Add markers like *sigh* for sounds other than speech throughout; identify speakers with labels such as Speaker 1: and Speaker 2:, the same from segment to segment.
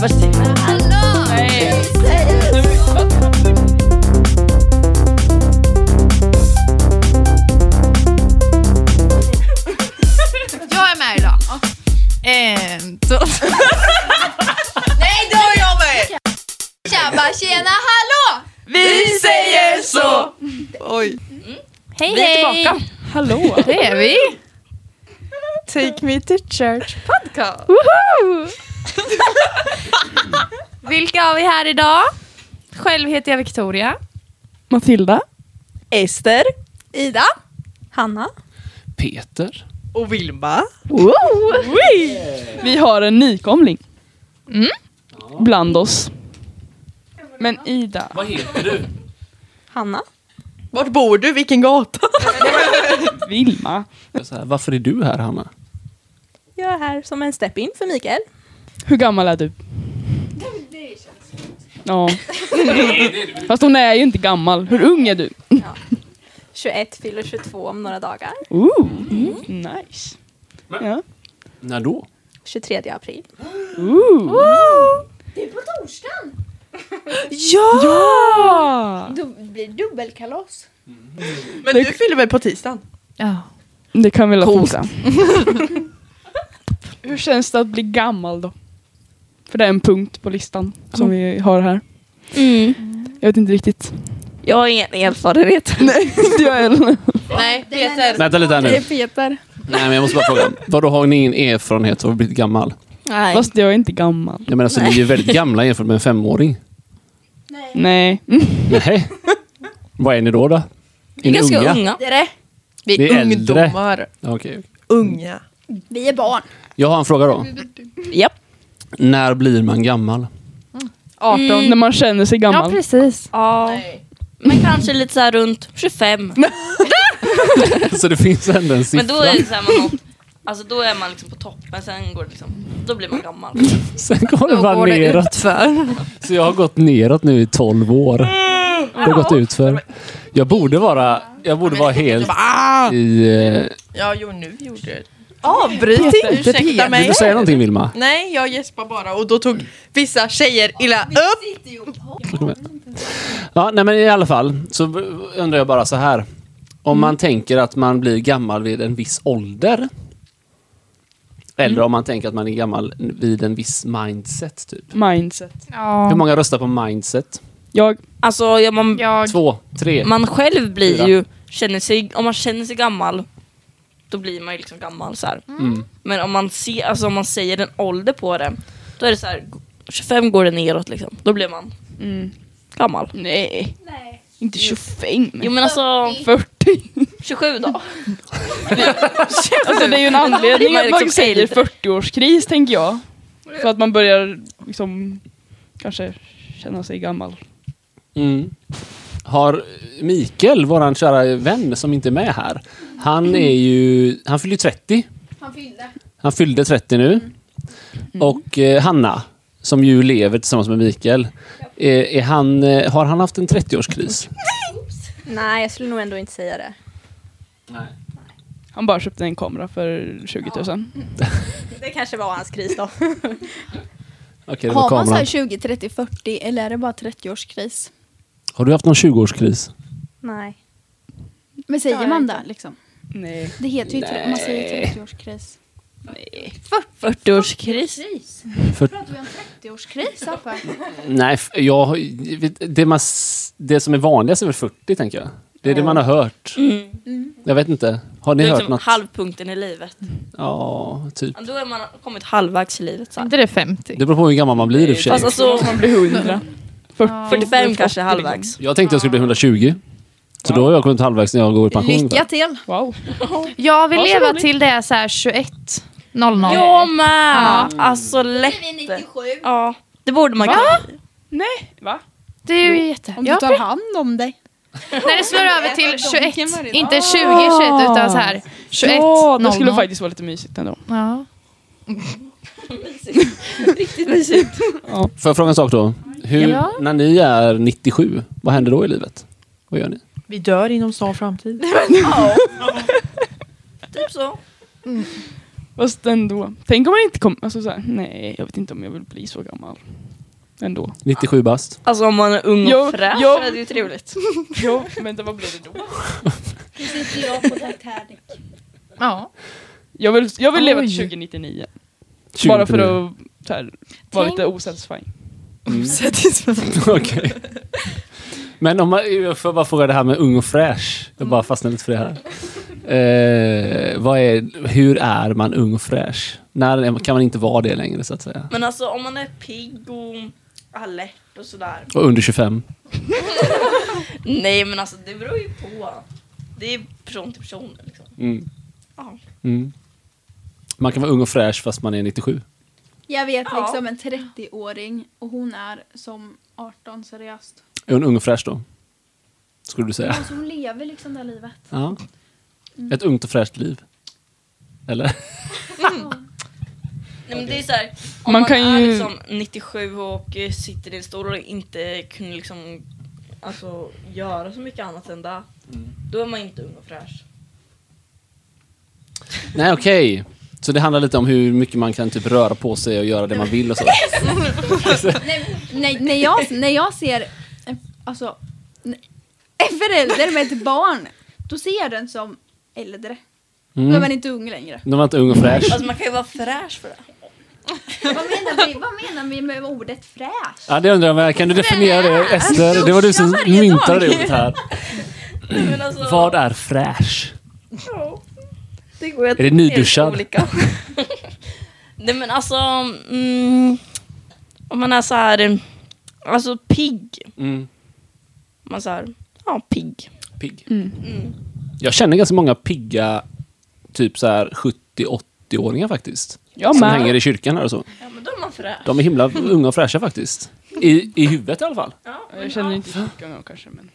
Speaker 1: Martina.
Speaker 2: Hallå!
Speaker 1: Nej.
Speaker 2: Jag är med idag.
Speaker 1: Ehm,
Speaker 2: En, två... *laughs* Nej, då är jag med! Tjabba, tjena, hallå!
Speaker 1: Vi säger så!
Speaker 3: Oj.
Speaker 1: Hej, vi är tillbaka.
Speaker 3: Hallå.
Speaker 1: Det är vi.
Speaker 3: Take me to church. *laughs*
Speaker 1: Woho! Vilka har vi här idag? Själv heter jag Victoria.
Speaker 3: Matilda. Ester.
Speaker 2: Ida.
Speaker 4: Hanna.
Speaker 5: Peter.
Speaker 3: Och Vilma.
Speaker 1: Wow.
Speaker 3: Vi har en nykomling
Speaker 1: Mm.
Speaker 3: bland oss. Men Ida.
Speaker 5: Vad heter du?
Speaker 4: Hanna.
Speaker 3: Vart bor du? Vilken gata? Vilma.
Speaker 5: Så här, varför är du här Hanna?
Speaker 4: Jag är här som en step-in för Mikael.
Speaker 3: Hur gammal är du? Ja. Fast hon är ju inte gammal. Hur ung är du?
Speaker 4: 21 fyller 22 om några dagar.
Speaker 3: Ooh. Nice. Ja.
Speaker 5: När då?
Speaker 4: 23 april.
Speaker 3: Ooh.
Speaker 2: Det är på torsdagen.
Speaker 6: *laughs*
Speaker 3: Ja!
Speaker 2: Då blir det dubbelkalas.
Speaker 6: Men du fyller väl på tisdagen?
Speaker 1: Ja.
Speaker 3: Det kan vi väl
Speaker 6: *laughs*
Speaker 3: fixa. Hur känns det att bli gammal då? För det är en punkt på listan som vi har här. Jag vet inte riktigt.
Speaker 1: Jag har ingen erfarenhet.
Speaker 3: *laughs* Nej, inte jag heller.
Speaker 2: Nej, Peter.
Speaker 5: Vänta lite här nu.
Speaker 4: Peter.
Speaker 5: Nej men jag måste bara fråga. Vadå har ni ingen erfarenhet av att bli gammal?
Speaker 4: Nej.
Speaker 3: Fast jag är inte gammal.
Speaker 5: Jag menar så ni är ju väldigt gamla jämfört med en femåring.
Speaker 3: Nej. Mm.
Speaker 5: Nej. Vad är ni då då? Är ni
Speaker 1: Ganska
Speaker 5: unga?
Speaker 1: unga.
Speaker 4: Det är det.
Speaker 6: Vi är,
Speaker 5: Vi är äldre.
Speaker 6: ungdomar.
Speaker 5: Okej. okej.
Speaker 6: Unga.
Speaker 4: Vi är barn.
Speaker 5: Jag har en fråga då.
Speaker 1: Japp.
Speaker 5: När blir man gammal? *laughs*
Speaker 3: 18. När man känner sig
Speaker 1: Ja,
Speaker 3: gammal.
Speaker 1: precis.
Speaker 4: Ja. Men kanske lite så här runt 25.
Speaker 5: så det finns ändå en siffra.
Speaker 7: Men då är det så här man har, alltså då är man liksom på topp men sen går det liksom, då blir man gammal.
Speaker 5: Sen går det bara
Speaker 1: går det
Speaker 5: neråt. Så jag har gått neråt nu i 12 år. Det har gått ut för. Jag borde vara, jag borde vara helt
Speaker 6: Va?
Speaker 5: i... eh,
Speaker 6: Ja, jo nu gjorde det. Avbryt inte Ursäkta
Speaker 5: Vill
Speaker 6: mig.
Speaker 5: du säga någonting Vilma?
Speaker 6: Nej, jag gäspar bara och då tog vissa tjejer illa upp.
Speaker 5: Ja, nej men i alla fall så b- undrar jag bara så här. Om
Speaker 1: Mm.
Speaker 5: man tänker att man blir gammal vid en viss ålder. Eller
Speaker 1: Mm.
Speaker 5: om man tänker att man är gammal vid en viss mindset typ.
Speaker 3: Mindset.
Speaker 5: Hur
Speaker 1: Ja.
Speaker 5: många röstar på mindset?
Speaker 3: Jag.
Speaker 7: Alltså ja, man,
Speaker 1: Jag,
Speaker 5: Två, tre.
Speaker 7: man själv blir
Speaker 5: Fyra.
Speaker 7: ju, känner sig, om man känner sig gammal då blir man ju liksom gammal så här.
Speaker 5: Mm.
Speaker 7: Men om man, ser, alltså, om man säger en ålder på det, då är det så här 25 går det neråt liksom, då blir man
Speaker 3: Mm.
Speaker 7: gammal.
Speaker 3: Nej. Inte 25.
Speaker 7: Jo men alltså
Speaker 3: 40.
Speaker 7: 27 då.
Speaker 3: Alltså det är *laughs* ju en anledning
Speaker 7: Man
Speaker 3: att
Speaker 7: är
Speaker 3: man
Speaker 7: liksom
Speaker 3: säger
Speaker 7: äldre.
Speaker 3: 40-årskris tänker jag. Så att man börjar liksom kanske känna sig gammal.
Speaker 5: Mm. Har Mikael, våran kära vän som inte är med här. Han är ju, han fyller ju 30. Han fyllde 30 nu. Och eh, Hanna, som ju lever tillsammans med Mikael. Är, är han, eh, har han haft en 30-årskris?
Speaker 4: Nej, jag skulle nog ändå inte säga det.
Speaker 3: Han bara köpte en kamera för 20 000.
Speaker 4: Det kanske var hans kris då.
Speaker 5: Okej, det var
Speaker 8: Har man så
Speaker 5: kameran.
Speaker 8: här 20, 30, 40 eller är det bara 30-årskris?
Speaker 5: Har du haft någon 20-årskris?
Speaker 4: Nej.
Speaker 8: Men säger
Speaker 4: Ja,
Speaker 8: man
Speaker 4: inte.
Speaker 8: det liksom?
Speaker 3: Nej.
Speaker 8: Det heter ju tre- man säger 30-årskris.
Speaker 7: 40-årskris.
Speaker 8: Pratar vi om 30-årskris Affe?
Speaker 5: Nej, f- jag, vet- det, man, s- det som är vanligast är väl 40, tänker jag. Det är det man har hört.
Speaker 7: Mm.
Speaker 5: Jag vet inte. Har ni
Speaker 7: Det är
Speaker 5: hört
Speaker 7: liksom
Speaker 5: något?
Speaker 7: halvpunkten i livet.
Speaker 5: Ja, typ.
Speaker 7: Ja,
Speaker 4: Mm.
Speaker 7: Då är man kommit halvvägs i livet så här.
Speaker 1: inte det 50?
Speaker 5: Det beror på hur gammal man blir i och för sig.
Speaker 7: Fast alltså
Speaker 3: Man blir 100. 40,
Speaker 7: 45 kanske är
Speaker 3: 40, liksom.
Speaker 7: halvvägs.
Speaker 5: Jag tänkte jag skulle bli 120. Så då har jag kommit halvvägs när jag går i pension.
Speaker 8: Lycka till!
Speaker 3: Wow.
Speaker 1: Jag vill
Speaker 3: Ja, så
Speaker 1: leva
Speaker 3: roligt.
Speaker 1: till det är så här 21. 00.
Speaker 7: Jag med! Alltså lätt. Ja, det borde man
Speaker 1: Va?
Speaker 7: kunna.
Speaker 3: Nej, va?
Speaker 1: Det är ju jätte...
Speaker 8: Om
Speaker 1: Ja,
Speaker 8: du tar hand om dig.
Speaker 1: När det slår över till 21. Inte 20, 21 utan så här 21.
Speaker 3: ja, det
Speaker 1: 00.
Speaker 3: skulle faktiskt vara lite mysigt ändå.
Speaker 1: Ja.
Speaker 5: Får jag fråga en sak då? Hur,
Speaker 1: Ja.
Speaker 5: När ni är 97, vad händer då i livet? Vad gör ni?
Speaker 6: Vi dör inom snar framtid.
Speaker 7: Typ så.
Speaker 3: Fast ändå. Tänk om man inte kommer... Alltså så här, nej, jag vet inte om jag vill bli så gammal. Ändå.
Speaker 5: 97 bast.
Speaker 7: Alltså om man är ung och
Speaker 3: Ja,
Speaker 7: fräsch
Speaker 3: ja.
Speaker 7: är det ju trevligt.
Speaker 3: Jo, men det, vad blir det då?
Speaker 8: Nu sitter jag på Titanic.
Speaker 2: Ja.
Speaker 3: Jag vill, jag vill leva
Speaker 2: Oj.
Speaker 3: till 2099. Bara för att så här, vara lite osatisfying.
Speaker 5: *laughs* Okej. Men om man, jag får bara fråga det här med ung och fräsch. Jag bara fastnade lite för det här. Eh, vad är, hur är man ung och fräsch? När är- kan man inte vara det längre så att säga?
Speaker 7: Men alltså om man är pigg och alert och sådär.
Speaker 5: Och under 25?
Speaker 7: Nej men alltså det beror ju på. Det är person till person liksom.
Speaker 5: Mm.
Speaker 7: Ja.
Speaker 5: Mm. Man kan vara ung och fräsch fast man är 97.
Speaker 8: Jag vet
Speaker 7: Ja.
Speaker 8: liksom en 30-åring och hon är som 18 seriöst.
Speaker 5: Är hon ung och fräsch då? Skulle du säga.
Speaker 8: Alltså hon lever liksom det här livet.
Speaker 5: Ja. Ett ungt och fräscht liv. Eller?
Speaker 7: Nej, men det är så här, om
Speaker 3: Man
Speaker 7: man,
Speaker 3: kan
Speaker 7: är
Speaker 3: ju-
Speaker 7: liksom 97 och eh, sitter i en stol och inte kan liksom alltså, göra så mycket annat än det. Då är man inte ung och fräsch.
Speaker 5: Nej, okej. Så det handlar lite om hur mycket man kan typ röra på sig och göra det man vill och så.
Speaker 8: Nej, när, jag, när jag ser en, alltså, n- en förälder med ett barn, då ser jag den som äldre. Då är
Speaker 5: Mm.
Speaker 8: man inte ung längre.
Speaker 5: De var inte ung och fräsch.
Speaker 7: Alltså man kan ju vara fräsch för det.
Speaker 8: Vad menar vi, vad menar vi med ordet fräsch?
Speaker 5: Ja, det undrar jag med. Kan du definiera det, Ester? Det var du som
Speaker 8: varje
Speaker 5: myntade
Speaker 8: dag.
Speaker 5: det ordet här.
Speaker 7: Nej, men alltså,
Speaker 5: Vad är fräsch?
Speaker 7: Det går att-
Speaker 5: Är det nyduschad?
Speaker 7: helt olika. *laughs* Nej men alltså, mm, om man är så här, alltså pigg.
Speaker 5: Mm.
Speaker 7: Man är så här, ja pigg.
Speaker 5: Pigg.
Speaker 7: Mm.
Speaker 5: Jag känner ganska många pigga, typ så här 70-80-åringar faktiskt.
Speaker 3: Jag
Speaker 5: Som
Speaker 3: med.
Speaker 5: hänger i kyrkan här och så.
Speaker 7: Ja men då är man fräsch.
Speaker 5: De är himla unga och fräscha faktiskt. I, i huvudet i alla fall.
Speaker 7: Ja, men,
Speaker 3: Jag känner inte kyrkan då kanske, men...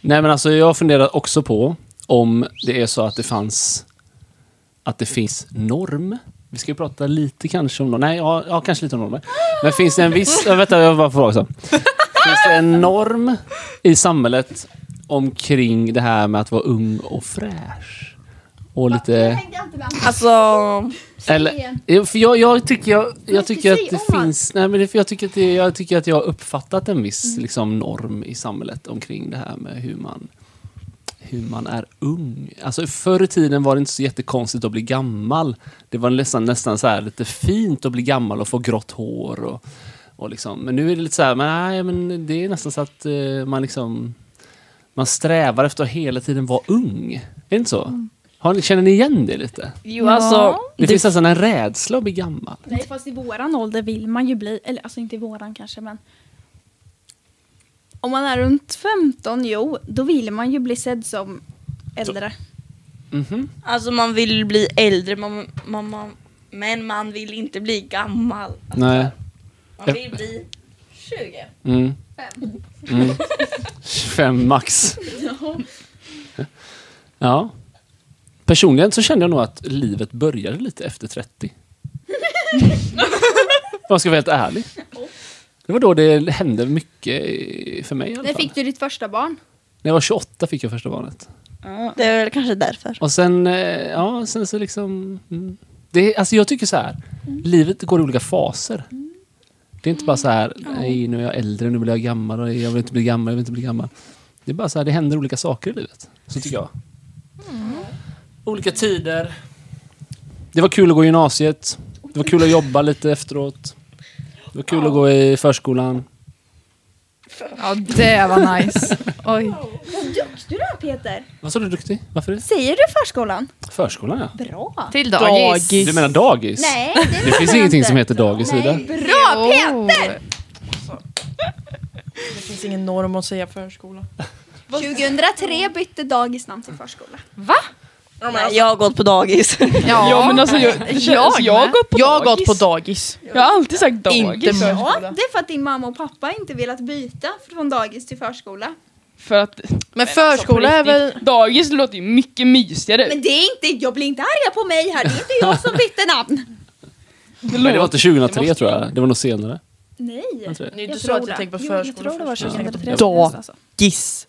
Speaker 5: Nej men alltså jag funderar också på om det är så att det fanns att det finns norm. Vi ska ju prata lite kanske om norm. Nej, ja, ja kanske lite om normer. Men finns det en viss... Ja, vänta, jag bara frågar också. Finns det en norm i samhället omkring det här med att vara ung och fräsch? Och lite...
Speaker 8: tänkte alltid med
Speaker 7: Alltså,
Speaker 5: Eller, Jo, för jag, jag tycker, jag, jag tycker att
Speaker 8: säg
Speaker 5: det
Speaker 8: om.
Speaker 5: finns... Nej, men det, för jag, tycker att det, jag tycker att jag har uppfattat en viss liksom, norm i samhället omkring det här med hur man, hur man är ung. Alltså, förr i tiden var det inte så jättekonstigt att bli gammal. Det var nästan, nästan så här, lite fint att bli gammal och få grått hår. Och, och liksom. Men nu är det lite så här, men, nej, men det är nästan så att eh, man liksom... Man strävar efter att hela tiden vara ung. Är det inte så? Har, ni- känner ni igen det lite?
Speaker 7: jo alltså.
Speaker 5: Det, finns nästan en rädsla att bli gammal.
Speaker 8: Nej, fast i våran ålder vill man ju bli, eller alltså inte i våran kanske men om man är runt 15, jo, då vill man ju bli sedd som äldre.
Speaker 5: Mhm.
Speaker 7: Alltså man vill bli äldre, man, man, man, men man vill inte bli gammal. Alltså,
Speaker 5: Nej.
Speaker 7: Man vill bli 20.
Speaker 5: Mm. Mm. 25 max. Ja. Personligen så kände jag nog att livet började lite efter 30. Om jag ska vara helt ärlig. Det var då det hände mycket i- för mig i alla
Speaker 8: När
Speaker 5: fall.
Speaker 8: fick du ditt första barn?
Speaker 5: När jag var 28 fick jag första barnet.
Speaker 7: Det är väl kanske därför.
Speaker 5: Och sen, eh, ja, sen så liksom... Mm. Det, alltså jag tycker så här,
Speaker 7: Mm.
Speaker 5: livet går i olika faser. Det är inte bara så här, nej nu är jag äldre, nu blir jag gammal, och jag vill inte bli gammal, jag vill inte bli gammal. Det är bara så här, det händer olika saker i livet. Så tycker jag.
Speaker 7: Mm.
Speaker 5: Olika tider. Det var kul att gå i gymnasiet. Det var kul att jobba lite efteråt. Det var kul att gå i förskolan.
Speaker 2: ja, det var nice. Oj.
Speaker 8: Vad duktig du är Peter!
Speaker 5: Vad sa du duktig? Varför det?
Speaker 8: Säger du förskolan?
Speaker 5: Förskolan ja.
Speaker 8: Bra!
Speaker 2: Till dagis.
Speaker 5: Du menar dagis?
Speaker 8: Nej, det,
Speaker 5: Det finns ingenting som heter dagis, Ida.
Speaker 8: Nej, bra Peter!
Speaker 6: Det finns ingen norm att säga förskola.
Speaker 8: 2003 bytte dagis namn till förskola.
Speaker 7: Nej, jag har gått på dagis.
Speaker 3: Ja, men alltså jag... Det känns, jag, alltså, jag har gått på
Speaker 6: Jag har gått
Speaker 3: dagis.
Speaker 6: på dagis.
Speaker 3: Jag har alltid sagt dagis.
Speaker 6: Inte
Speaker 8: Ja,
Speaker 6: förskola.
Speaker 8: det är för att din mamma och pappa inte velat byta från dagis till förskola.
Speaker 3: För att...
Speaker 2: Men
Speaker 3: på
Speaker 2: förskola är
Speaker 3: riktigt,
Speaker 2: väl...
Speaker 3: Dagis låter ju mycket mysigare.
Speaker 8: Men det är inte, jag blir inte arga på mig här, det är inte jag som bytte namn!
Speaker 5: Men det var inte 2003
Speaker 3: måste-
Speaker 5: tror jag, det var nog senare.
Speaker 8: Nej.
Speaker 5: Tror jag.
Speaker 6: Det är inte så att jag tänker på
Speaker 8: Jo, jag tror det var
Speaker 6: förskola. först.
Speaker 8: 2003.
Speaker 6: Dag.
Speaker 8: Alltså.
Speaker 6: Dagis.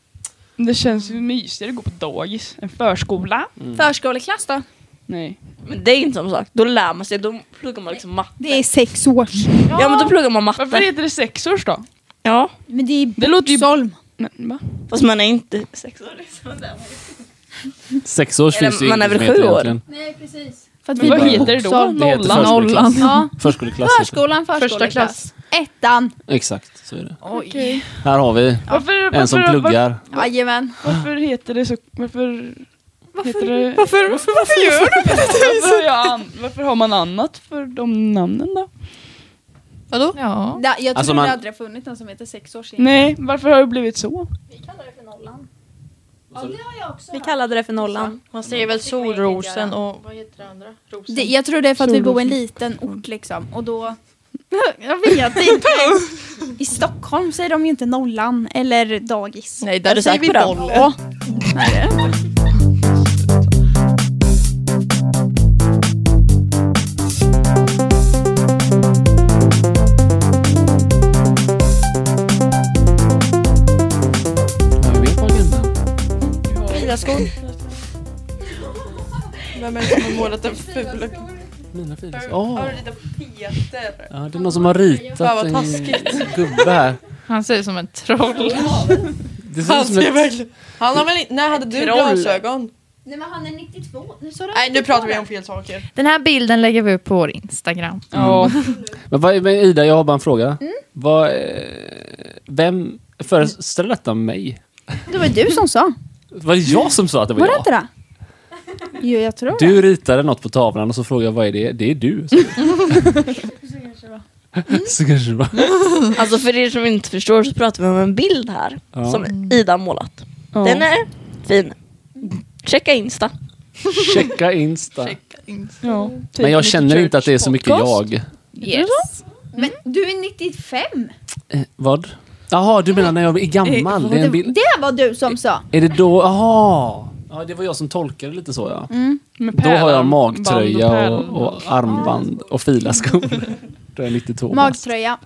Speaker 3: Det känns ju mysigare att gå på dagis än förskola.
Speaker 8: Förskoleklass då?
Speaker 3: Nej.
Speaker 7: Men det är inte samma sak. Då lär man sig, då pluggar man liksom matte.
Speaker 8: Det är sex års.
Speaker 7: Ja men då pluggar man
Speaker 3: Varför
Speaker 7: matte.
Speaker 3: heter det sexårs då?
Speaker 7: Ja.
Speaker 8: Men det är
Speaker 3: Det låter ju-
Speaker 8: Boxholm.
Speaker 3: Nej, va?
Speaker 7: Fast man är inte sex år. Liksom.
Speaker 5: Sex års
Speaker 7: Eller
Speaker 5: finns det ju
Speaker 7: man
Speaker 5: inte
Speaker 7: är väl
Speaker 5: som heter
Speaker 7: sju år?
Speaker 5: egentligen.
Speaker 8: Nej, precis. För att
Speaker 3: Men
Speaker 8: vi
Speaker 3: vad
Speaker 8: bor i
Speaker 3: heter det då?
Speaker 8: Boxholm.
Speaker 5: Det heter
Speaker 3: Nollan?
Speaker 5: förskoleklass.
Speaker 8: Nollan. Ja.
Speaker 5: Förskoleklass. heter
Speaker 8: Förskolan,
Speaker 1: Första
Speaker 8: förskoleklass.
Speaker 1: klass.
Speaker 8: Ettan.
Speaker 5: det. Exakt, så är det. Här har vi
Speaker 3: Varför,
Speaker 5: en som
Speaker 3: varför-
Speaker 5: pluggar.
Speaker 8: Jajamän.
Speaker 3: Varför, varför heter det så? Varför? Heter det,
Speaker 6: Varför, varför, varför gör du det?
Speaker 3: varför, har jag an, varför har man annat för de namnen då?
Speaker 1: Vadå?
Speaker 8: Da-
Speaker 1: Ja.
Speaker 8: Jag tror
Speaker 5: Alltså, man-
Speaker 8: det aldrig har funnits någon som heter sex års innan.
Speaker 3: Nej, varför har det blivit så?
Speaker 4: Vi kallade det för nollan.
Speaker 2: Man säger väl solrosen och... Vad heter det andra? Rosen?
Speaker 8: Det, jag tror det är för att vi bor i en liten ort liksom. Och då... *laughs* Jag vet inte. *laughs* I Stockholm säger de ju inte nollan eller dagis.
Speaker 2: Nej, där säger vi boll.
Speaker 8: Ja.
Speaker 5: Vad har vi på agendan?
Speaker 6: Vem är det som har målat en ful...
Speaker 5: Mina filer. Åh,
Speaker 6: ritat Peter?
Speaker 5: ja, det är någon som har
Speaker 6: Fan,
Speaker 5: ritat
Speaker 6: vad
Speaker 5: en
Speaker 6: taskigt.
Speaker 5: gubbe här.
Speaker 1: Han ser ut som en troll.
Speaker 5: Det ser
Speaker 6: Han
Speaker 5: ut som
Speaker 6: ser
Speaker 5: ett...
Speaker 6: verkligen... Han har väl inte... När hade du glasögon?
Speaker 8: Nej men han är 92. Nu sa du
Speaker 6: Nej nu pratar vi om fel saker.
Speaker 1: Den här bilden lägger vi upp på vår Instagram.
Speaker 3: Ja,
Speaker 5: Men, vad, men Ida, jag har bara en fråga. Vad, eh, vem föreställer detta mig?
Speaker 8: Det var ju du som sa.
Speaker 5: Var det jag som sa att det var,
Speaker 8: Var det
Speaker 5: jag?
Speaker 8: inte det? Jo jag tror det.
Speaker 5: Du ritade något på tavlan och så frågade jag vad är det? Det är
Speaker 3: *laughs*
Speaker 5: du. Så kanske det var.
Speaker 7: Alltså för er som inte förstår så pratar vi om en bild här
Speaker 5: Ja.
Speaker 7: som Ida har målat.
Speaker 3: ja.
Speaker 7: Den är fin. Checka Insta.
Speaker 5: Checka Insta. Mm.
Speaker 3: ja. typ
Speaker 5: Men jag känner inte att det är så mycket jag.
Speaker 1: Yes.
Speaker 8: Men du är 95.
Speaker 5: Eh, Vad? Jaha, du menar när jag är gammal? Det är, en bild.
Speaker 8: Det var du som sa.
Speaker 5: är det då? Jaha! Ja, det var jag som tolkade lite så ja.
Speaker 3: Med
Speaker 5: Då har jag
Speaker 3: pärlan,
Speaker 5: magtröja
Speaker 3: Mm. band pärlan.
Speaker 5: och, och armband och filaskor.
Speaker 3: *laughs*
Speaker 5: Då är jag 92 bast.
Speaker 8: Magtröja.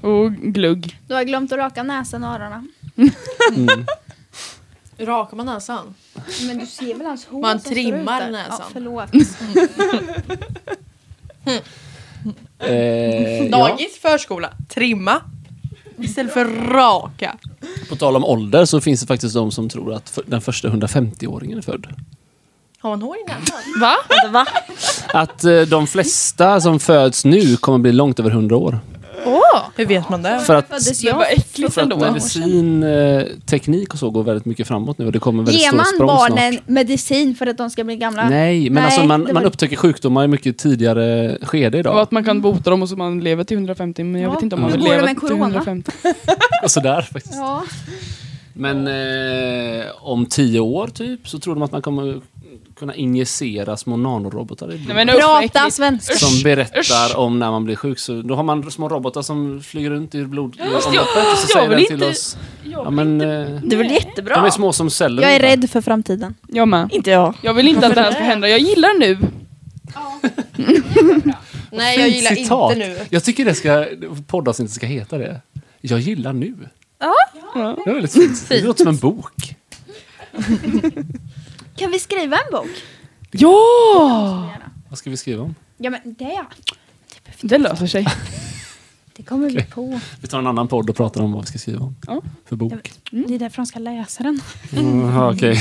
Speaker 3: Och glugg.
Speaker 8: Du har jag glömt att raka näsan och öronen.
Speaker 5: Mm.
Speaker 6: Rakar man näsan?
Speaker 8: Men du ser väl hans hår
Speaker 6: Man
Speaker 8: som står
Speaker 6: trimmar
Speaker 8: ut där? Ja,
Speaker 6: näsan.
Speaker 8: förlåt.
Speaker 5: Eh, ja.
Speaker 6: Dagis, förskola, trimma. Istället för raka.
Speaker 5: På tal om ålder så finns det faktiskt de som tror att för, den första 150-åringen är född.
Speaker 6: Har man hår i näsan?
Speaker 1: Va?
Speaker 7: Va?
Speaker 5: Att eh, de flesta som föds nu kommer bli långt över 100 år.
Speaker 6: Hur vet man det?
Speaker 5: För att,
Speaker 8: *laughs* Föddes jag?
Speaker 5: för att medicin, eh, teknik och så går väldigt mycket framåt nu och det kommer väldigt
Speaker 8: Ger
Speaker 5: stora
Speaker 8: man
Speaker 5: språng
Speaker 8: barnen
Speaker 5: snart.
Speaker 8: medicin för att de ska bli gamla?
Speaker 5: Nej, men
Speaker 8: Nej,
Speaker 5: alltså man,
Speaker 8: det var-
Speaker 5: man upptäcker sjukdomar i mycket tidigare skede
Speaker 3: Och
Speaker 5: idag.
Speaker 3: att man kan bota dem och så man lever till 150 men jag
Speaker 8: Ja.
Speaker 3: vet inte om
Speaker 5: Hur
Speaker 3: man vill
Speaker 8: går det
Speaker 3: leva
Speaker 8: med
Speaker 3: till
Speaker 8: corona?
Speaker 3: 150.
Speaker 5: *laughs* Och sådär faktiskt.
Speaker 8: Ja.
Speaker 5: Men eh, om tio år typ så tror de att man kommer kunna injicera små nanorobotar i
Speaker 3: Nej,
Speaker 5: blodet.
Speaker 3: men usch, vad
Speaker 8: Prata
Speaker 3: äckligt.
Speaker 8: svenska.
Speaker 5: som berättar
Speaker 3: usch.
Speaker 5: om när man blir sjuk. Så då har man små robotar som flyger runt i blodomloppet och så
Speaker 3: jag
Speaker 5: säger
Speaker 3: vill
Speaker 5: den till
Speaker 3: inte-
Speaker 5: oss. Ja, men, eh,
Speaker 7: Det är väl jättebra?
Speaker 5: de är små som celler.
Speaker 8: Jag är
Speaker 5: ungefär.
Speaker 8: rädd för framtiden.
Speaker 3: Jag med.
Speaker 7: Inte jag.
Speaker 3: Jag vill inte att det här ska hända. Jag gillar nu.
Speaker 6: Nej
Speaker 5: Fint
Speaker 6: jag gillar
Speaker 5: citat.
Speaker 6: inte nu.
Speaker 5: Jag tycker det ska, poddas inte ska heta det. Jag gillar nu.
Speaker 3: Ja.
Speaker 5: Det är väldigt fint. Det låter som en bok.
Speaker 8: Kan vi skriva en bok? Ah.
Speaker 3: Ja!
Speaker 5: Vad ska vi skriva om?
Speaker 8: Ja men det,
Speaker 3: Det löser sig.
Speaker 8: det kommer vi på.
Speaker 5: Vi tar en annan podd och pratar om vad vi ska skriva om.
Speaker 3: Ja.
Speaker 5: För bok.
Speaker 8: Det är därför de ska läsa den.
Speaker 5: Mm, aha, Okej.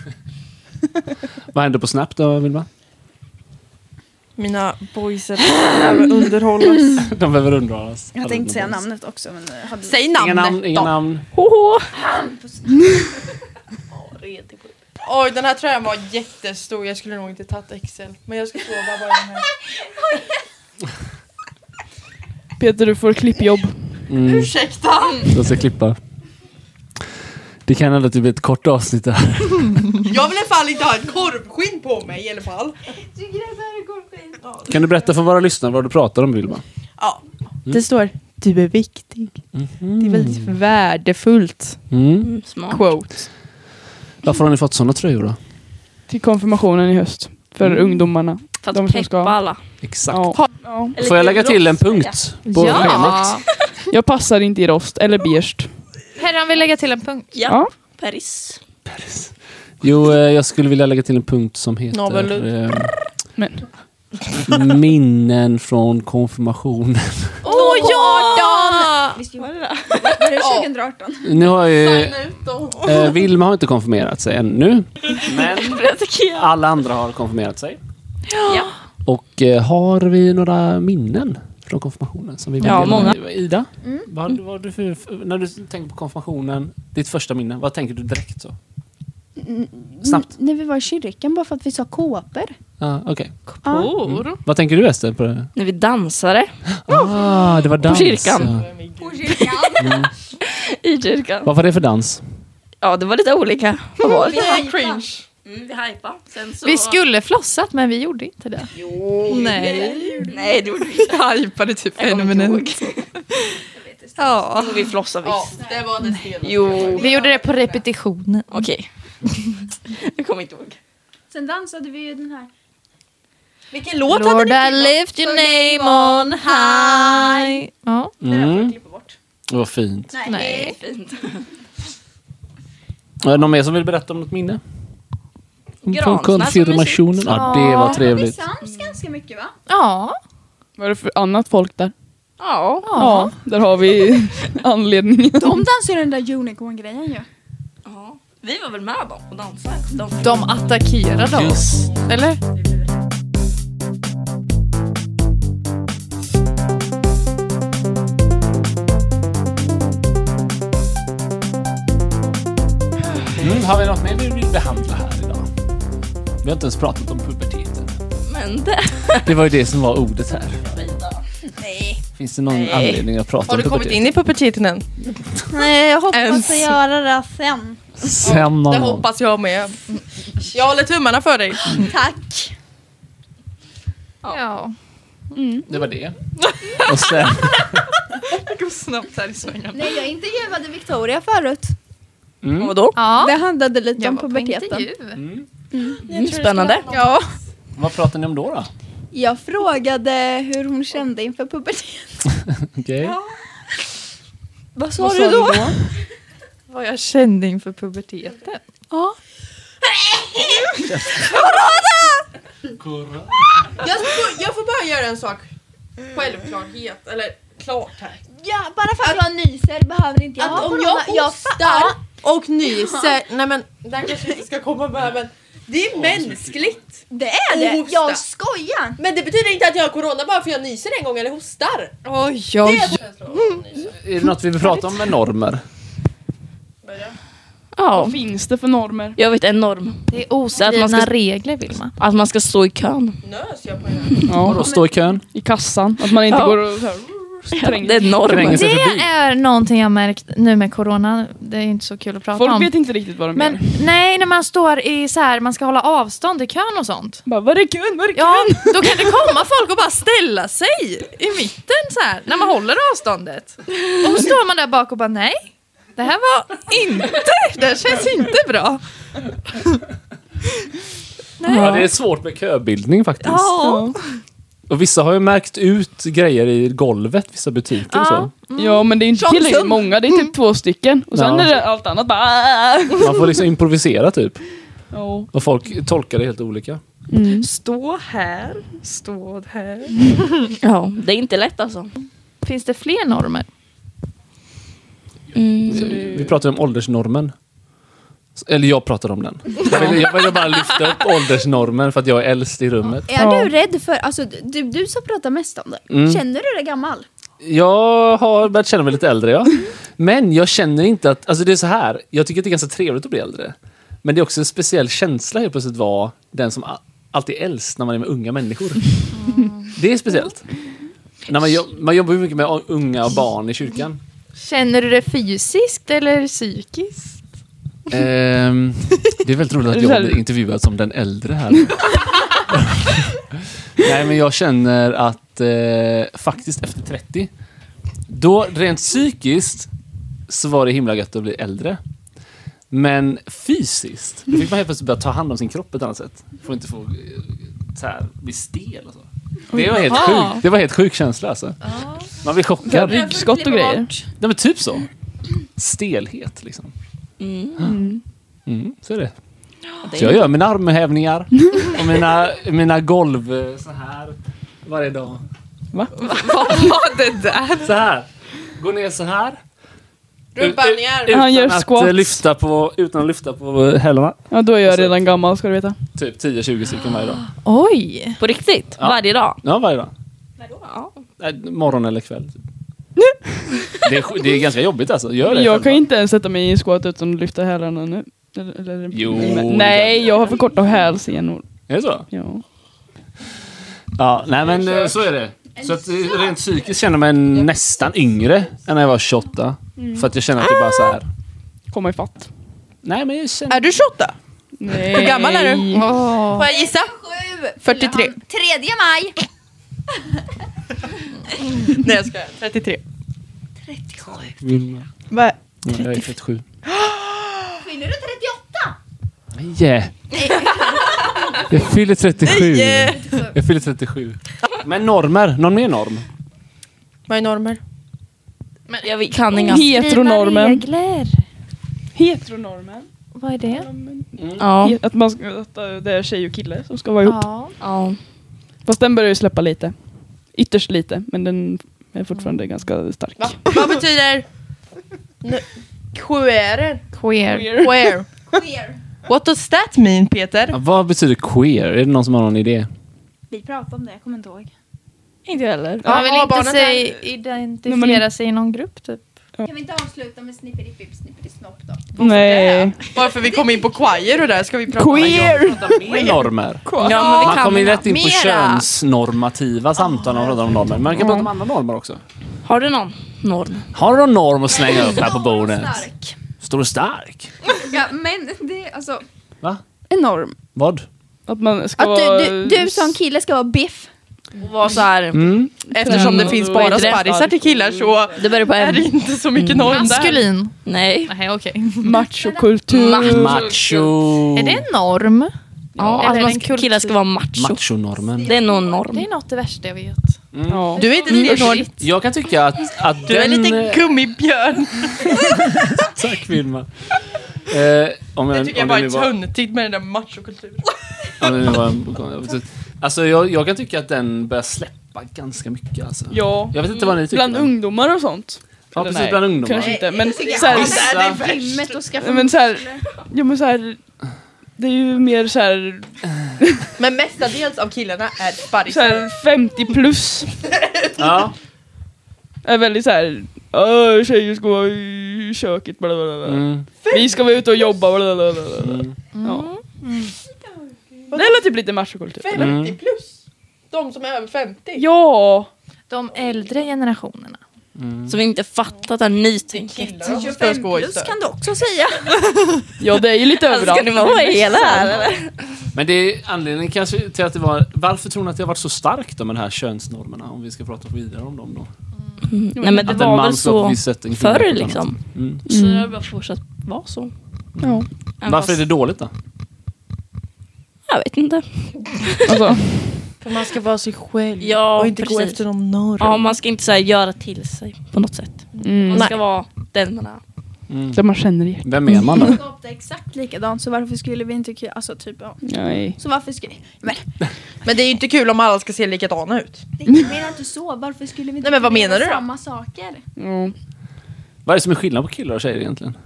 Speaker 8: *laughs*
Speaker 5: vad händer på Snap då, Vilma? *laughs*
Speaker 6: Mina boys *laughs* behöver underhållas.
Speaker 5: De behöver underhållas.
Speaker 8: Jag tänkte säga namnet också men jag hade...
Speaker 6: Säg
Speaker 5: Inga
Speaker 6: namnet
Speaker 5: namn, inga
Speaker 6: då.
Speaker 5: namn.
Speaker 6: Oj den här tröjan var jättestor. Jag skulle nog inte tagit Excel. Men jag ska sova bara i den här.
Speaker 3: Peter, du får klippjobb.
Speaker 5: Mm,
Speaker 6: Ursäkta!
Speaker 5: jag ska klippa. Det kan hända att det blir ett kort avsnitt det här.
Speaker 6: Jag vill i alla fall inte ha ett korvskinn på mig i alla fall.
Speaker 5: Kan du berätta för våra lyssnare vad du pratar om, Vilma?
Speaker 6: Ja.
Speaker 2: Det står du är viktig. Det är väldigt värdefullt.
Speaker 5: Mm.
Speaker 7: Mm, smart.
Speaker 2: Quote.
Speaker 5: Varför har ni fått sådana tröjor då?
Speaker 3: Till konfirmationen i höst. För
Speaker 5: Mm.
Speaker 3: ungdomarna.
Speaker 7: För
Speaker 3: De
Speaker 7: att
Speaker 3: som ska-
Speaker 7: peppa alla.
Speaker 5: Exakt.
Speaker 3: Ja. Ja.
Speaker 7: Eller
Speaker 5: Får jag lägga till en
Speaker 7: rosa.
Speaker 5: punkt på
Speaker 1: Ja.
Speaker 5: schemat?
Speaker 3: Jag passar inte i rost eller beige.
Speaker 1: Herran vill lägga till en punkt.
Speaker 7: Ja,
Speaker 3: Ja.
Speaker 7: Paris.
Speaker 5: Jo, eh, jag skulle vilja lägga till en punkt som heter...
Speaker 6: Novellut.
Speaker 3: Men.
Speaker 5: eh, minnen från konfirmationen.
Speaker 1: Åh, ja
Speaker 5: Ah.
Speaker 1: då!
Speaker 8: Visst, gjorde- Var det 2018?
Speaker 5: *laughs* Nu har ju... Eh, Vilma har inte konfirmerat sig ännu. Men alla andra har konfirmerat sig.
Speaker 4: Ja.
Speaker 5: Och eh, har vi några minnen från konfirmationen? Som vi vill
Speaker 4: Ja,
Speaker 5: dela?
Speaker 4: många.
Speaker 5: Ida, vad, vad har du för, när du tänker på konfirmationen, ditt första minne, vad tänker du direkt? så? Snabbt.
Speaker 8: När vi var i kyrkan bara för att vi sa kåpor.
Speaker 5: Ah, Okej.
Speaker 8: Ja.
Speaker 5: Mm. Vad tänker du Ester? På det?
Speaker 4: När vi dansade
Speaker 5: Ah, det var dans.
Speaker 4: kyrkan.
Speaker 5: ja.
Speaker 4: i kyrkan.
Speaker 5: Vad var det för dans?
Speaker 4: Ja, det var lite olika. Vad var det?
Speaker 6: Cringe.
Speaker 7: Mm, vi hajpade. Sen så...
Speaker 1: Vi skulle flossat men vi gjorde inte det.
Speaker 7: Jo,
Speaker 1: Nej.
Speaker 7: Nej, det gjorde vi inte.
Speaker 2: Hypade typ en minut.
Speaker 1: Ja.
Speaker 7: Jo, Vi flossade
Speaker 6: Ja,
Speaker 7: visst.
Speaker 6: det var det fel.
Speaker 7: Jo.
Speaker 1: Vi gjorde det på repetitionen.
Speaker 4: Okej. Jag kommer inte ihåg.
Speaker 8: Sen dansade vi ju den här.
Speaker 7: Vilken låt
Speaker 1: Lord I lift your name on high. Ja.
Speaker 5: Mm. Det var fint.
Speaker 1: Nej.
Speaker 4: Fint.
Speaker 5: Är det någon mer som vill berätta om något minne? Från
Speaker 4: Gransnäs som
Speaker 5: konfirmationen? Ja, det var
Speaker 8: Vi
Speaker 5: trevligt.
Speaker 8: sams ganska mycket va?
Speaker 1: Ja.
Speaker 3: Vad är det för annat folk där?
Speaker 4: Ja.
Speaker 1: ja.
Speaker 3: där har vi anledningen.
Speaker 8: De dansar ju den där unicorn-grejen ju.
Speaker 7: Ja. Vi var väl med dem och dansade. De
Speaker 1: De attackerade oss.
Speaker 5: Just
Speaker 1: Eller?
Speaker 5: Mm, har vi något mer vi vill behandla här idag? Vi har inte ens pratat om puberteten.
Speaker 4: Men det...
Speaker 5: Det var ju det som var ordet här. Finns det någon anledning att prata
Speaker 6: Har
Speaker 5: om
Speaker 6: du kommit
Speaker 5: puberteten?
Speaker 6: in i puberteten än?
Speaker 8: Nej, jag hoppas att göra det sen.
Speaker 5: Sen
Speaker 6: Det
Speaker 5: någon gång.
Speaker 6: hoppas jag med. Jag håller tummarna för dig.
Speaker 8: Tack.
Speaker 1: Ja.
Speaker 5: Det var det. Och sen,
Speaker 6: Snabbt här i svängen.
Speaker 8: Nej, jag intervjuade Victoria förut.
Speaker 5: mm,
Speaker 7: Vadå?
Speaker 1: ja.
Speaker 8: Det handlade lite
Speaker 1: Jag
Speaker 8: om
Speaker 1: var på
Speaker 8: puberteten.
Speaker 1: intervju.
Speaker 4: Mm, spännande.
Speaker 8: Ja.
Speaker 5: vad pratar ni om då? då?
Speaker 8: Jag frågade hur hon kände inför puberteten.
Speaker 5: Okej.
Speaker 8: Vad sa du då?
Speaker 1: Vad jag kände inför puberteten.
Speaker 6: Jag, får- jag får bara göra en sak. Självklarhet, eller klart här.
Speaker 8: Ja, bara för att jag nyser behöver inte jag
Speaker 6: Att
Speaker 8: ha
Speaker 6: om
Speaker 8: corona.
Speaker 6: jag
Speaker 8: ja,
Speaker 6: hostar och nyser, nej men den kanske inte ska komma med men det är mänskligt.
Speaker 8: det är
Speaker 6: Och
Speaker 8: det.
Speaker 6: hosta.
Speaker 8: Jag skojar.
Speaker 6: Men det betyder inte att jag har corona bara för jag nyser en gång eller hostar.
Speaker 1: Oj, oj,
Speaker 5: Är det något vi vill prata om med normer?
Speaker 4: Ja.
Speaker 3: Vad finns det för normer?
Speaker 4: Jag vet en norm.
Speaker 1: Det är oskrivna
Speaker 4: Att man ska-
Speaker 1: regler, Vilma.
Speaker 4: Att man ska stå i kön.
Speaker 6: Nös jag på en
Speaker 5: Och då stå i kön,
Speaker 3: I kassan. Att man inte
Speaker 4: Ja.
Speaker 3: går och så här,
Speaker 4: Det
Speaker 3: tränger.
Speaker 4: är normen.
Speaker 5: kränga sig
Speaker 1: Det
Speaker 5: förbi.
Speaker 1: är någonting jag märkt nu med corona. Det är ju inte så kul att prata om.
Speaker 3: Folk vet inte riktigt vad de
Speaker 1: Men
Speaker 3: gör.
Speaker 1: nej, när man står i så här, man ska hålla avstånd i kön och sånt.
Speaker 3: Bara, vad är kön? Vad är kön?
Speaker 1: Ja, då kan det komma folk och bara ställa sig i mitten så här, när man håller avståndet. Och så står man där bak och bara nej, det här var inte, det här känns inte bra.
Speaker 5: Ja, det är svårt med köbildning faktiskt.
Speaker 1: Ja,
Speaker 5: Och vissa har ju märkt ut grejer i golvet, vissa butiker och så.
Speaker 3: Ja men det är inte tillräckligt många, det är typ två stycken. Och sen
Speaker 5: Ja.
Speaker 3: är det allt annat bara...
Speaker 5: Man får liksom improvisera typ.
Speaker 3: Ja.
Speaker 5: Och folk tolkar det helt olika.
Speaker 1: Stå här, stå här.
Speaker 4: Ja, det är inte lätt alltså.
Speaker 1: Finns det fler normer?
Speaker 5: Vi pratar om åldersnormen. Eller jag pratar om den. Jag ville jag ville bara lyfta upp åldersnormen för att jag är äldst i rummet.
Speaker 8: Är du rädd för, alltså du, du som pratar mest om det,
Speaker 5: Mm.
Speaker 8: känner du dig gammal?
Speaker 5: Jag har börjat känna mig lite äldre, ja. Men jag känner inte att... Alltså det är så här, jag tycker att det är ganska trevligt att bli äldre. Men det är också en speciell känsla helt plötsligt att vara den som a- alltid är äldst när man är med unga människor. Det är speciellt. När man, jo- man jobbar ju mycket med unga och barn i kyrkan.
Speaker 1: Känner du det fysiskt eller psykiskt?
Speaker 5: Ehm, det är väldigt roligt att
Speaker 3: Det är
Speaker 5: jag
Speaker 3: så här-
Speaker 5: blir intervjuad som den äldre här.
Speaker 3: *laughs*
Speaker 5: Nej, men jag känner att eh, faktiskt efter 30, då rent psykiskt så var det himla gött att bli äldre. Men fysiskt, då fick man helt plötsligt börja ta hand om sin kropp på ett annat sätt. Får inte få eh, så här, bli stel och så. Det var helt
Speaker 1: Jaha.
Speaker 3: Ah.
Speaker 5: sjukt. Det var helt sjuk känsla alltså. Man blir chockad. Nej
Speaker 3: Ryggskott och grejer.
Speaker 5: men typ så. Stelhet liksom.
Speaker 4: Mm.
Speaker 5: Mm, så är det. Så jag gör mina armhävningar och mina, mina golv eh, så här varje dag. *laughs*
Speaker 1: Vad var det där?
Speaker 5: Så här. Gå ner så här.
Speaker 6: Rumpövningar.
Speaker 5: Utan
Speaker 3: Han gör
Speaker 5: att, eh,
Speaker 3: squats.
Speaker 5: lyfta på, utan att lyfta på eh, hälarna.
Speaker 3: Ja, då är jag redan gammal ska du veta.
Speaker 5: Typ 10-20 stycken varje dag.
Speaker 1: Oj.
Speaker 4: På riktigt?
Speaker 5: Ja.
Speaker 4: Varje dag?
Speaker 5: Ja, varje dag. Nej, morgon eller kväll. typ. det, är, sj- det är ganska jobbigt alltså. Gör det
Speaker 3: Jag
Speaker 5: själva.
Speaker 3: kan ju inte ens sätta mig i en squat utan att lyfta hälarna nu. Eller, eller,
Speaker 5: Jo,
Speaker 3: men,
Speaker 5: det
Speaker 3: nej, jag har för korta hälsenor.
Speaker 5: Är det så?
Speaker 3: Ja.
Speaker 5: Ja, nej men eh, så är det. Så att eh, rent psykiskt känner jag mig nästan yngre än när jag var 28. För att jag känner att det är bara så här.
Speaker 3: Komma ifatt.
Speaker 5: Nej men jag känner...
Speaker 2: Är du 28?
Speaker 3: Nej.
Speaker 2: Hur gammal är du?
Speaker 1: Åh.
Speaker 2: Får jag gissa? 43.
Speaker 8: 3 maj.
Speaker 2: Nej jag skojar. 33.
Speaker 5: Vilma.
Speaker 2: Va?
Speaker 5: Nej, Jag är 37.
Speaker 8: Fyller du 38?
Speaker 5: Yeah. Jag fyller 37. Jag fyller 37. Men normer. Någon mer norm?
Speaker 6: Vad är normer?
Speaker 4: Jag kan inga.
Speaker 3: Heteronormen. Heteronormen.
Speaker 1: Vad är det?
Speaker 4: Ja.
Speaker 3: Att, man ska, att eh, det är tjej och kille som ska vara ihop.
Speaker 1: Ja.
Speaker 4: ja.
Speaker 3: Fast den börjar ju släppa lite. Ytterst lite, men den är
Speaker 5: Mm.
Speaker 3: fortfarande ganska stark.
Speaker 6: Va? Vad betyder... N- Queerer?
Speaker 1: Queer.
Speaker 6: Queer.
Speaker 8: Queer.
Speaker 6: What does that mean Peter?
Speaker 5: Ja, vad betyder queer? Är det någon som har någon idé?
Speaker 8: *laughs* Vi pratade om det, jag kommer inte ihåg.
Speaker 4: Inte heller.
Speaker 1: Man vill
Speaker 6: Ja,
Speaker 1: inte
Speaker 6: barnet
Speaker 1: sig
Speaker 3: Nej,
Speaker 1: identifiera sig i någon grupp typ.
Speaker 8: Kan vi inte avsluta med snipperipip snopp då?
Speaker 3: Nej.
Speaker 6: Bara för vi kom in på choir och där ska vi prata
Speaker 3: Queer!
Speaker 5: Mer normer.
Speaker 6: Ja, men vi
Speaker 5: Man
Speaker 6: kan
Speaker 5: kommer ju rätt in på
Speaker 6: mera.
Speaker 5: könsnormativa samtal när man pratar om normer. Men man kan prata om andra normer också.
Speaker 4: Har du någon norm?
Speaker 5: Har du någon norm att slänga upp här på
Speaker 8: Stor och
Speaker 5: bordet?
Speaker 8: stark.
Speaker 5: Står du stark?
Speaker 8: Ja, men det är alltså
Speaker 5: Va?
Speaker 8: enorm.
Speaker 5: Vad?
Speaker 3: Att man ska
Speaker 8: Att du,
Speaker 3: vara...
Speaker 8: du, du som kille ska vara biff.
Speaker 4: Och var så här.
Speaker 5: Mm.
Speaker 6: Eftersom det
Speaker 3: Mm.
Speaker 6: finns
Speaker 3: Då
Speaker 6: bara
Speaker 3: är det
Speaker 6: sparrisar
Speaker 3: rätt.
Speaker 6: till killar så
Speaker 4: Det börjar på
Speaker 6: är det
Speaker 4: en.
Speaker 6: inte så mycket norm där.
Speaker 1: Maskulin.
Speaker 4: Nej.
Speaker 1: Nej okej.
Speaker 3: Machokultur.
Speaker 5: Macho...
Speaker 1: Mm. Är det en norm?
Speaker 4: Ja,
Speaker 1: Eller
Speaker 4: att man
Speaker 1: en
Speaker 4: ska, killar ska vara macho.
Speaker 5: Machonormen.
Speaker 4: Det är någon
Speaker 1: Det
Speaker 4: norm.
Speaker 1: är något det värsta jag vet.
Speaker 3: Ja.
Speaker 6: Du är inte stenhård.
Speaker 5: Jag kan tycka att, att
Speaker 6: Du är
Speaker 5: den... eh,
Speaker 6: lite gummibjörn.
Speaker 5: Tack Vilma. Eh, om jag,
Speaker 6: Det tycker jag
Speaker 5: om
Speaker 6: bara
Speaker 5: nu
Speaker 6: är
Speaker 5: var-
Speaker 6: töntigt med den där machokulturen.
Speaker 5: om det nu var- Alltså jag, jag kan tycka att den börjar släppa ganska mycket alltså.
Speaker 3: ja.
Speaker 5: Jag vet inte vad ni tycker.
Speaker 3: Bland ungdomar och sånt.
Speaker 5: Ja,
Speaker 3: Eller
Speaker 5: precis,
Speaker 3: nej,
Speaker 5: bland ungdomar.
Speaker 3: Kanske inte, men
Speaker 8: tycker jag
Speaker 3: så här,
Speaker 8: inte.
Speaker 5: Vissa-
Speaker 8: Gymmet och skaffa
Speaker 3: Nej, Men så här, ja men så här, det är ju mer så här,
Speaker 6: Men mestadels av killarna är
Speaker 3: så
Speaker 6: sparrisar.
Speaker 3: här 50 plus.
Speaker 5: Ja.
Speaker 3: Är väldigt så här, "Åh, tjejer ska vara i köket, bla bla bla.
Speaker 5: Mm.
Speaker 3: Vi ska vara ute och jobba, bla bla bla. bla. Ja. Det är typ lite machokultur.
Speaker 6: 50
Speaker 5: Mm.
Speaker 6: plus. De som är över 50.
Speaker 3: Ja!
Speaker 1: De äldre generationerna.
Speaker 5: mm.
Speaker 4: Som inte fattat det här nytänket.
Speaker 6: Killar som ska skoj.
Speaker 4: du också säga.
Speaker 3: Ja det är ju
Speaker 7: *laughs*
Speaker 3: lite
Speaker 7: Alltså,
Speaker 3: överallt.
Speaker 4: Ska ni vara med hela här eller?
Speaker 5: Men det är anledningen kanske till att det var... Varför tror ni att det har varit så starkt om de här könsnormerna? Om vi ska prata vidare om dem då.
Speaker 4: Mm. Nej men det
Speaker 5: att en
Speaker 4: var
Speaker 5: man
Speaker 4: väl
Speaker 5: ska på ett
Speaker 4: så
Speaker 5: visst sätt, en kvinna på ett
Speaker 4: förr
Speaker 5: annat
Speaker 4: liksom.
Speaker 5: sätt. Mm.
Speaker 4: Så det har bara fortsatt vara så.
Speaker 3: Ja.
Speaker 4: Även
Speaker 7: Mm.
Speaker 5: Varför är
Speaker 4: fast-
Speaker 5: det dåligt då?
Speaker 4: Jag vet inte.
Speaker 3: Alltså,
Speaker 6: För man ska vara sig själv.
Speaker 4: Ja,
Speaker 6: och inte gå
Speaker 4: precis.
Speaker 6: efter någon norm.
Speaker 4: Ja, man ska inte så här, göra till sig på något sätt. Man ska vara den man är.
Speaker 3: det man känner igen.
Speaker 5: Vem är
Speaker 3: *laughs*
Speaker 5: man då?
Speaker 8: skapta exakt likadant så varför skulle vi inte kunna, alltså typ ja.
Speaker 3: Nej.
Speaker 8: Så varför skulle, men
Speaker 6: Men det är ju inte kul om alla ska se likadana ut.
Speaker 8: det jag menar inte så, varför skulle vi inte
Speaker 6: Nej, men vad
Speaker 8: kunna
Speaker 6: menar
Speaker 8: göra
Speaker 6: du då?
Speaker 8: samma saker?
Speaker 3: Ja.
Speaker 5: Vad är det som är skillnad på killar och tjejer egentligen?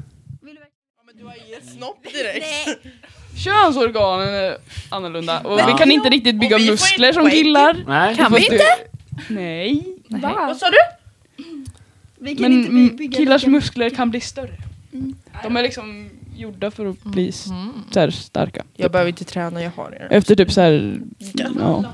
Speaker 8: Vill du verkligen-
Speaker 6: Men du har ju en snopp direkt.
Speaker 8: Nej,
Speaker 3: Könsorganen är annorlunda och vi
Speaker 5: Ja.
Speaker 3: kan inte riktigt bygga
Speaker 6: Och vi får
Speaker 3: muskler
Speaker 6: inte
Speaker 3: som
Speaker 6: poäng.
Speaker 3: killar.
Speaker 5: Nej.
Speaker 1: Kan vi
Speaker 3: Fast
Speaker 1: inte?
Speaker 3: det- Nej.
Speaker 6: *laughs* Vad sa du?
Speaker 8: vi kan
Speaker 3: Men
Speaker 8: inte by-
Speaker 3: mm,
Speaker 8: bygga
Speaker 3: killars
Speaker 8: lika-
Speaker 3: muskler kan bli större. De är liksom gjorda för att bli s- så här starka.
Speaker 6: Jag behöver inte träna, jag har er.
Speaker 3: Efter typ så här, ja,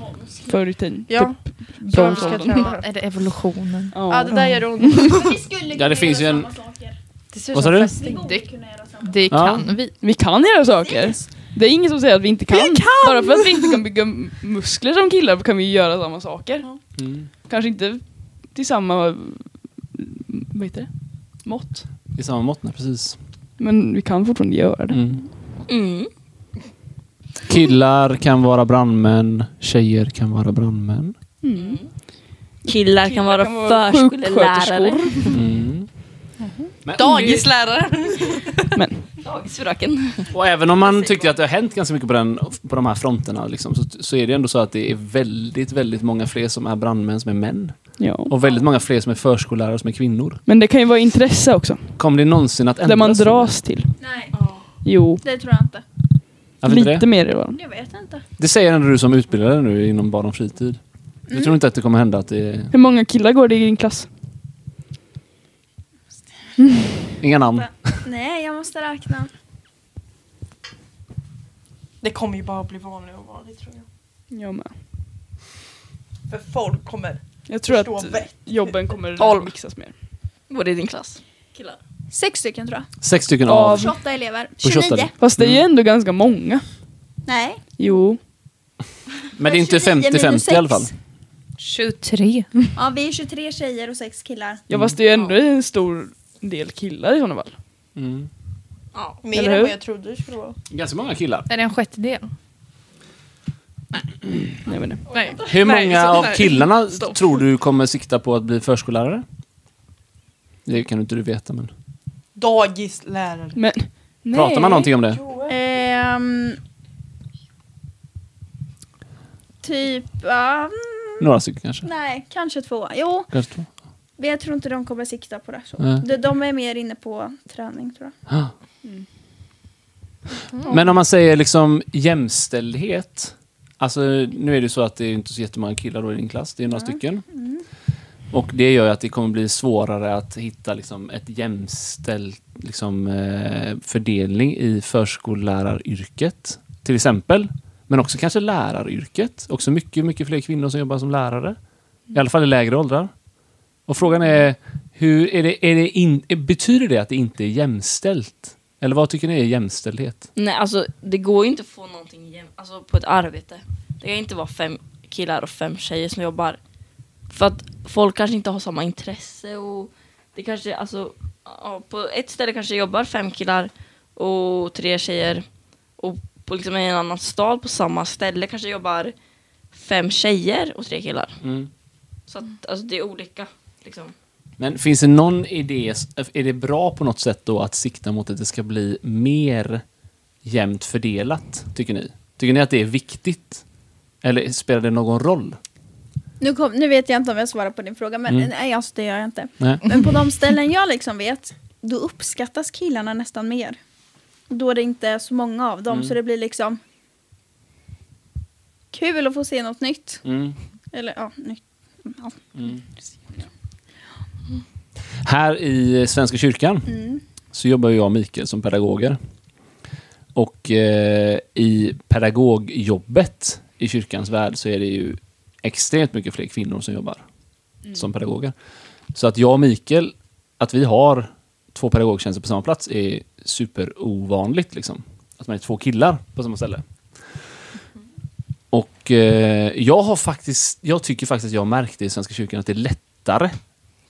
Speaker 3: förr i tiden.
Speaker 6: Ja,
Speaker 3: Typ
Speaker 6: jag ska
Speaker 3: bronsåldern.
Speaker 6: *laughs* träna.
Speaker 1: Är det evolutionen?
Speaker 3: Ja.
Speaker 6: Ja, det där gör ont.
Speaker 8: Men vi skulle kunna
Speaker 5: Ja, det finns ju
Speaker 8: göra
Speaker 5: en-
Speaker 8: samma saker.
Speaker 6: Det ser
Speaker 5: Vad
Speaker 6: ut som
Speaker 5: sa du?
Speaker 6: fästing.
Speaker 8: Vi borde
Speaker 1: det-
Speaker 8: kunna göra samma
Speaker 1: Det
Speaker 5: Ja.
Speaker 1: kan vi.
Speaker 3: Vi kan göra saker. Det är ingen som säger att vi inte kan. Bara för att vi inte kan bygga m- muskler som killar kan vi ju göra samma saker.
Speaker 5: Mm.
Speaker 3: Kanske inte till samma, vad heter det? Mått.
Speaker 5: I samma mått, nej, precis.
Speaker 3: Men vi kan fortfarande göra det.
Speaker 5: Mm.
Speaker 4: Mm.
Speaker 5: Killar kan vara brandmän, tjejer kan vara brandmän.
Speaker 4: Killar kan vara
Speaker 3: kan vara
Speaker 4: förskollärare.
Speaker 5: Mm. Men,
Speaker 4: Dagisläraren.
Speaker 3: Men.
Speaker 4: Dagisfröken.
Speaker 5: och även om man tycker att det har hänt ganska mycket på, den, på de här fronterna liksom, så, så är det ändå så att det är väldigt, väldigt många fler som är brandmän som är män.
Speaker 3: Ja.
Speaker 5: Och väldigt många fler som är förskollärare som är kvinnor.
Speaker 3: Men det kan ju vara intresse också.
Speaker 5: Kommer det någonsin att ändras?
Speaker 3: Där man dras till.
Speaker 8: Nej,
Speaker 3: Jo,
Speaker 8: det tror jag inte.
Speaker 5: Varför inte
Speaker 3: lite
Speaker 5: Det?
Speaker 3: mer i varandra.
Speaker 8: Jag vet inte.
Speaker 5: det säger ändå du som utbildare nu inom barn och fritid. Du tror inte att det kommer hända att det är...
Speaker 3: Hur många killar går det i din klass?
Speaker 5: Inga namn.
Speaker 8: Nej, jag måste räkna.
Speaker 6: Det kommer ju bara bli vanligare och vanligt tror jag.
Speaker 3: Jag med.
Speaker 6: För folk kommer
Speaker 3: Jag tror
Speaker 6: förstå
Speaker 3: att
Speaker 6: vett.
Speaker 3: jobben kommer
Speaker 4: Tolv.
Speaker 3: mixas mer.
Speaker 4: Går det i din klass? Killar.
Speaker 8: Sex stycken tror jag.
Speaker 5: Sex stycken
Speaker 3: Av-
Speaker 5: av...
Speaker 8: 28 Mm. elever.
Speaker 5: På 28.
Speaker 8: 29.
Speaker 3: Fast det är ju
Speaker 5: Mm.
Speaker 3: ändå ganska många.
Speaker 8: Nej.
Speaker 3: Jo.
Speaker 5: Men det är inte
Speaker 8: 29 minus
Speaker 5: 50-50 i alla fall.
Speaker 8: sex.
Speaker 1: 23.
Speaker 8: Ja, vi är 23 tjejer och sex killar.
Speaker 3: Ja fast det är ju ändå en stor del killar i sådana fall.
Speaker 5: Mm.
Speaker 7: Ja.
Speaker 6: mer
Speaker 3: Eller
Speaker 6: än
Speaker 3: hur?
Speaker 6: vad jag trodde det skulle vara.
Speaker 5: Ganska många killar.
Speaker 1: Är det en sjättedel?
Speaker 3: Jag vet inte.
Speaker 1: Nej.
Speaker 5: Hur
Speaker 1: Nej,
Speaker 5: många
Speaker 1: så-
Speaker 5: av
Speaker 1: nej.
Speaker 5: killarna
Speaker 1: Stopp.
Speaker 5: tror du kommer sikta på att bli förskollärare? Det kan inte du veta, men...
Speaker 6: Dagislärare.
Speaker 3: Men, nej.
Speaker 5: Pratar man någonting om det?
Speaker 8: Ehm, typ... ja, mm,
Speaker 5: Några stycken kanske?
Speaker 8: nej, kanske två. Jo,
Speaker 5: Kanske två?
Speaker 8: men jag tror inte de kommer sikta på det. Så.
Speaker 5: Nej.
Speaker 8: De, de är mer inne på träning tror jag.
Speaker 5: Ah. Men om man säger liksom jämställdhet. Alltså, nu är det så att det är inte så jättemånga killar då i din klass, det är några stycken. Och det gör ju att det kommer bli svårare att hitta liksom ett jämställt liksom, eh, fördelning i förskolläraryrket. Till exempel. Men också kanske läraryrket. Också mycket, mycket fler kvinnor som jobbar som lärare. I alla fall i lägre åldrar. Och frågan är, hur, är det, är det in, betyder det att det inte är jämställt? Eller vad tycker ni är jämställdhet?
Speaker 7: Nej alltså det går ju inte att få någonting jäm- alltså, på ett arbete. Det kan inte vara fem killar och fem tjejer som jobbar. För att folk kanske inte har samma intresse och det kanske alltså ja, på ett ställe kanske jobbar fem killar och tre tjejer och på liksom en annan stad på samma ställe kanske jobbar fem tjejer och tre killar.
Speaker 5: Mm.
Speaker 7: Så att alltså, det är olika liksom.
Speaker 5: Men finns det någon idé, är det bra på något sätt då att sikta mot att det ska bli mer jämnt fördelat, tycker ni? Tycker ni att det är viktigt? Eller spelar det någon roll?
Speaker 8: Nu, kom, nu vet jag inte om jag svarar på din fråga, men
Speaker 5: Mm.
Speaker 8: nej, alltså, det gör jag inte.
Speaker 5: Nej.
Speaker 8: Men på de ställen jag liksom vet, då uppskattas killarna nästan mer. Då det inte är så många av dem,
Speaker 5: Mm.
Speaker 8: så det blir liksom kul att få se något nytt.
Speaker 5: Mm.
Speaker 8: Eller ja, nytt. Ja.
Speaker 5: Här i Svenska kyrkan
Speaker 8: Mm.
Speaker 5: så jobbar ju jag och Mikael som pedagoger. Och eh, i pedagogjobbet i kyrkans värld så är det ju extremt mycket fler kvinnor som jobbar som pedagoger. Så att jag och Mikael, att vi har två pedagogtjänster på samma plats är superovanligt. Liksom. Att man är två killar på samma ställe. Och eh, jag har faktiskt, jag tycker faktiskt att jag märkte i Svenska kyrkan att det är lättare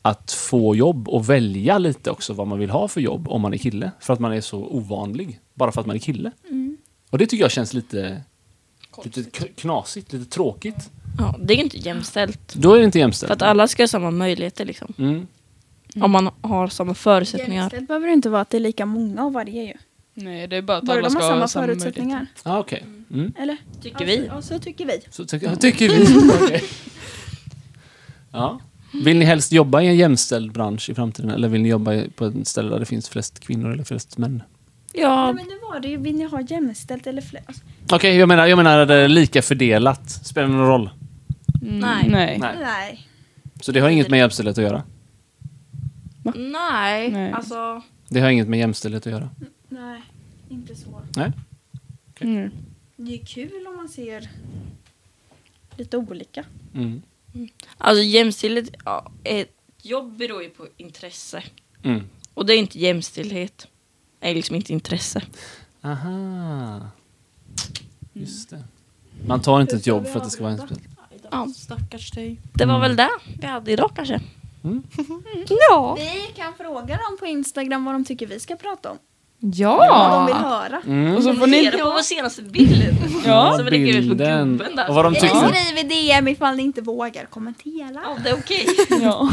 Speaker 5: att få jobb och välja lite också vad man vill ha för jobb om man är kille. För att man är så ovanlig, bara för att man är kille.
Speaker 7: Mm.
Speaker 5: Och det tycker jag känns lite, lite k- knasigt, lite tråkigt.
Speaker 7: Ja, det är inte jämställt.
Speaker 5: Mm. Då är det inte jämställt.
Speaker 7: För att alla ska ha samma möjligheter liksom.
Speaker 5: Mm.
Speaker 7: Om man har samma förutsättningar.
Speaker 8: Jämställt behöver det inte vara att det är lika många av varje ju.
Speaker 3: Nej det är bara att
Speaker 8: Bara
Speaker 3: alla
Speaker 8: de
Speaker 3: ska
Speaker 8: har
Speaker 3: ha
Speaker 8: samma
Speaker 3: möjlighet.
Speaker 8: förutsättningar.
Speaker 5: Ah, okej. Mm.
Speaker 8: Eller?
Speaker 7: Tycker vi.
Speaker 8: Ja, så tycker vi.
Speaker 5: Så tycker,
Speaker 7: *laughs*
Speaker 5: tycker vi. Okej. ja. Vill ni helst jobba i en jämställd bransch i framtiden eller vill ni jobba i- på ett ställe där det finns flest kvinnor eller flest män?
Speaker 8: Nej,
Speaker 7: Ja,
Speaker 8: men nu var det ju, vill ni ha jämställt eller fler? Alltså,
Speaker 5: Okej, jag menar, jag menar det är lika fördelat. Spelar det någon roll?
Speaker 3: Mm,
Speaker 7: Nej.
Speaker 3: Nej.
Speaker 5: Nej.
Speaker 8: nej.
Speaker 5: Så det har inget med jämställdhet att göra?
Speaker 7: nej.
Speaker 3: Nej.
Speaker 7: Alltså,
Speaker 5: Det har inget med jämställdhet att göra?
Speaker 8: Nej, inte så.
Speaker 3: Mm.
Speaker 8: Det är kul om man ser lite olika.
Speaker 5: Mm.
Speaker 7: alltså jämställdhet, ja, ett jobb beror ju på intresse.
Speaker 5: Mm.
Speaker 7: Och det är inte jämställdhet. Det är liksom inte intresse.
Speaker 5: Aha. Just det. Man tar inte ett jobb för att det ska vara jämställt.
Speaker 7: Ja. Stackars dig. Det
Speaker 3: Mm.
Speaker 7: var väl det vi hade idag kanske.
Speaker 8: Vi kan fråga dem på Instagram vad de tycker vi ska prata om. Vad de vill
Speaker 1: Ja!
Speaker 8: höra.
Speaker 5: Mm.
Speaker 3: Och så får
Speaker 7: Ser
Speaker 3: ni...
Speaker 7: du på vår senaste bild? *laughs*
Speaker 3: Ja.
Speaker 7: Som vi lägger ut på
Speaker 5: bilden.
Speaker 7: gruppen där.
Speaker 5: Och vad de tycker.
Speaker 8: Eller skriv i DM ifall ni inte vågar kommentera.
Speaker 7: Ja, det är okej.
Speaker 3: Ja.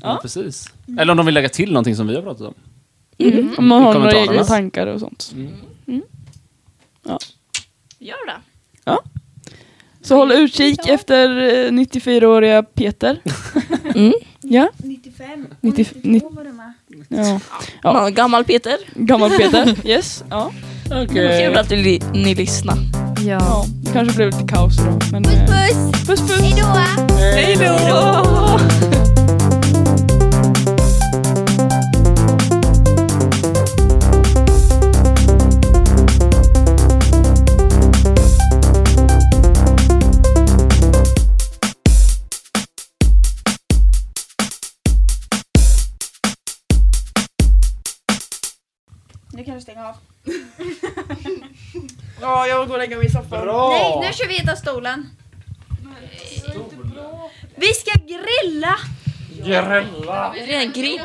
Speaker 5: Ja, precis. Eller om de vill lägga till någonting som vi har pratat om.
Speaker 3: Mm. Om man har några
Speaker 5: kommentarerna.
Speaker 3: egna tankar och sånt.
Speaker 5: Mm.
Speaker 7: Gör det.
Speaker 3: Så håll utkik efter eh, 94-åriga Peter. Mm. Ja,
Speaker 8: 95. Och
Speaker 3: 90
Speaker 8: 92 var det med.
Speaker 3: ja.
Speaker 7: Ja. Gammal Peter.
Speaker 3: Gammal Peter. Yes. Ja.
Speaker 7: Kul att ni, ni lyssnar.
Speaker 1: Ja.
Speaker 3: ja. Det kanske blev lite kaos idag. Men, eh,
Speaker 8: Puss!
Speaker 3: puss puss!
Speaker 8: Hejdå! Nu kan du stänga av.
Speaker 6: Ja, jag går och lägger mig i soffan.
Speaker 8: Nej, nu kör vi heta stolen. Vi ska grilla!
Speaker 7: Redan grill.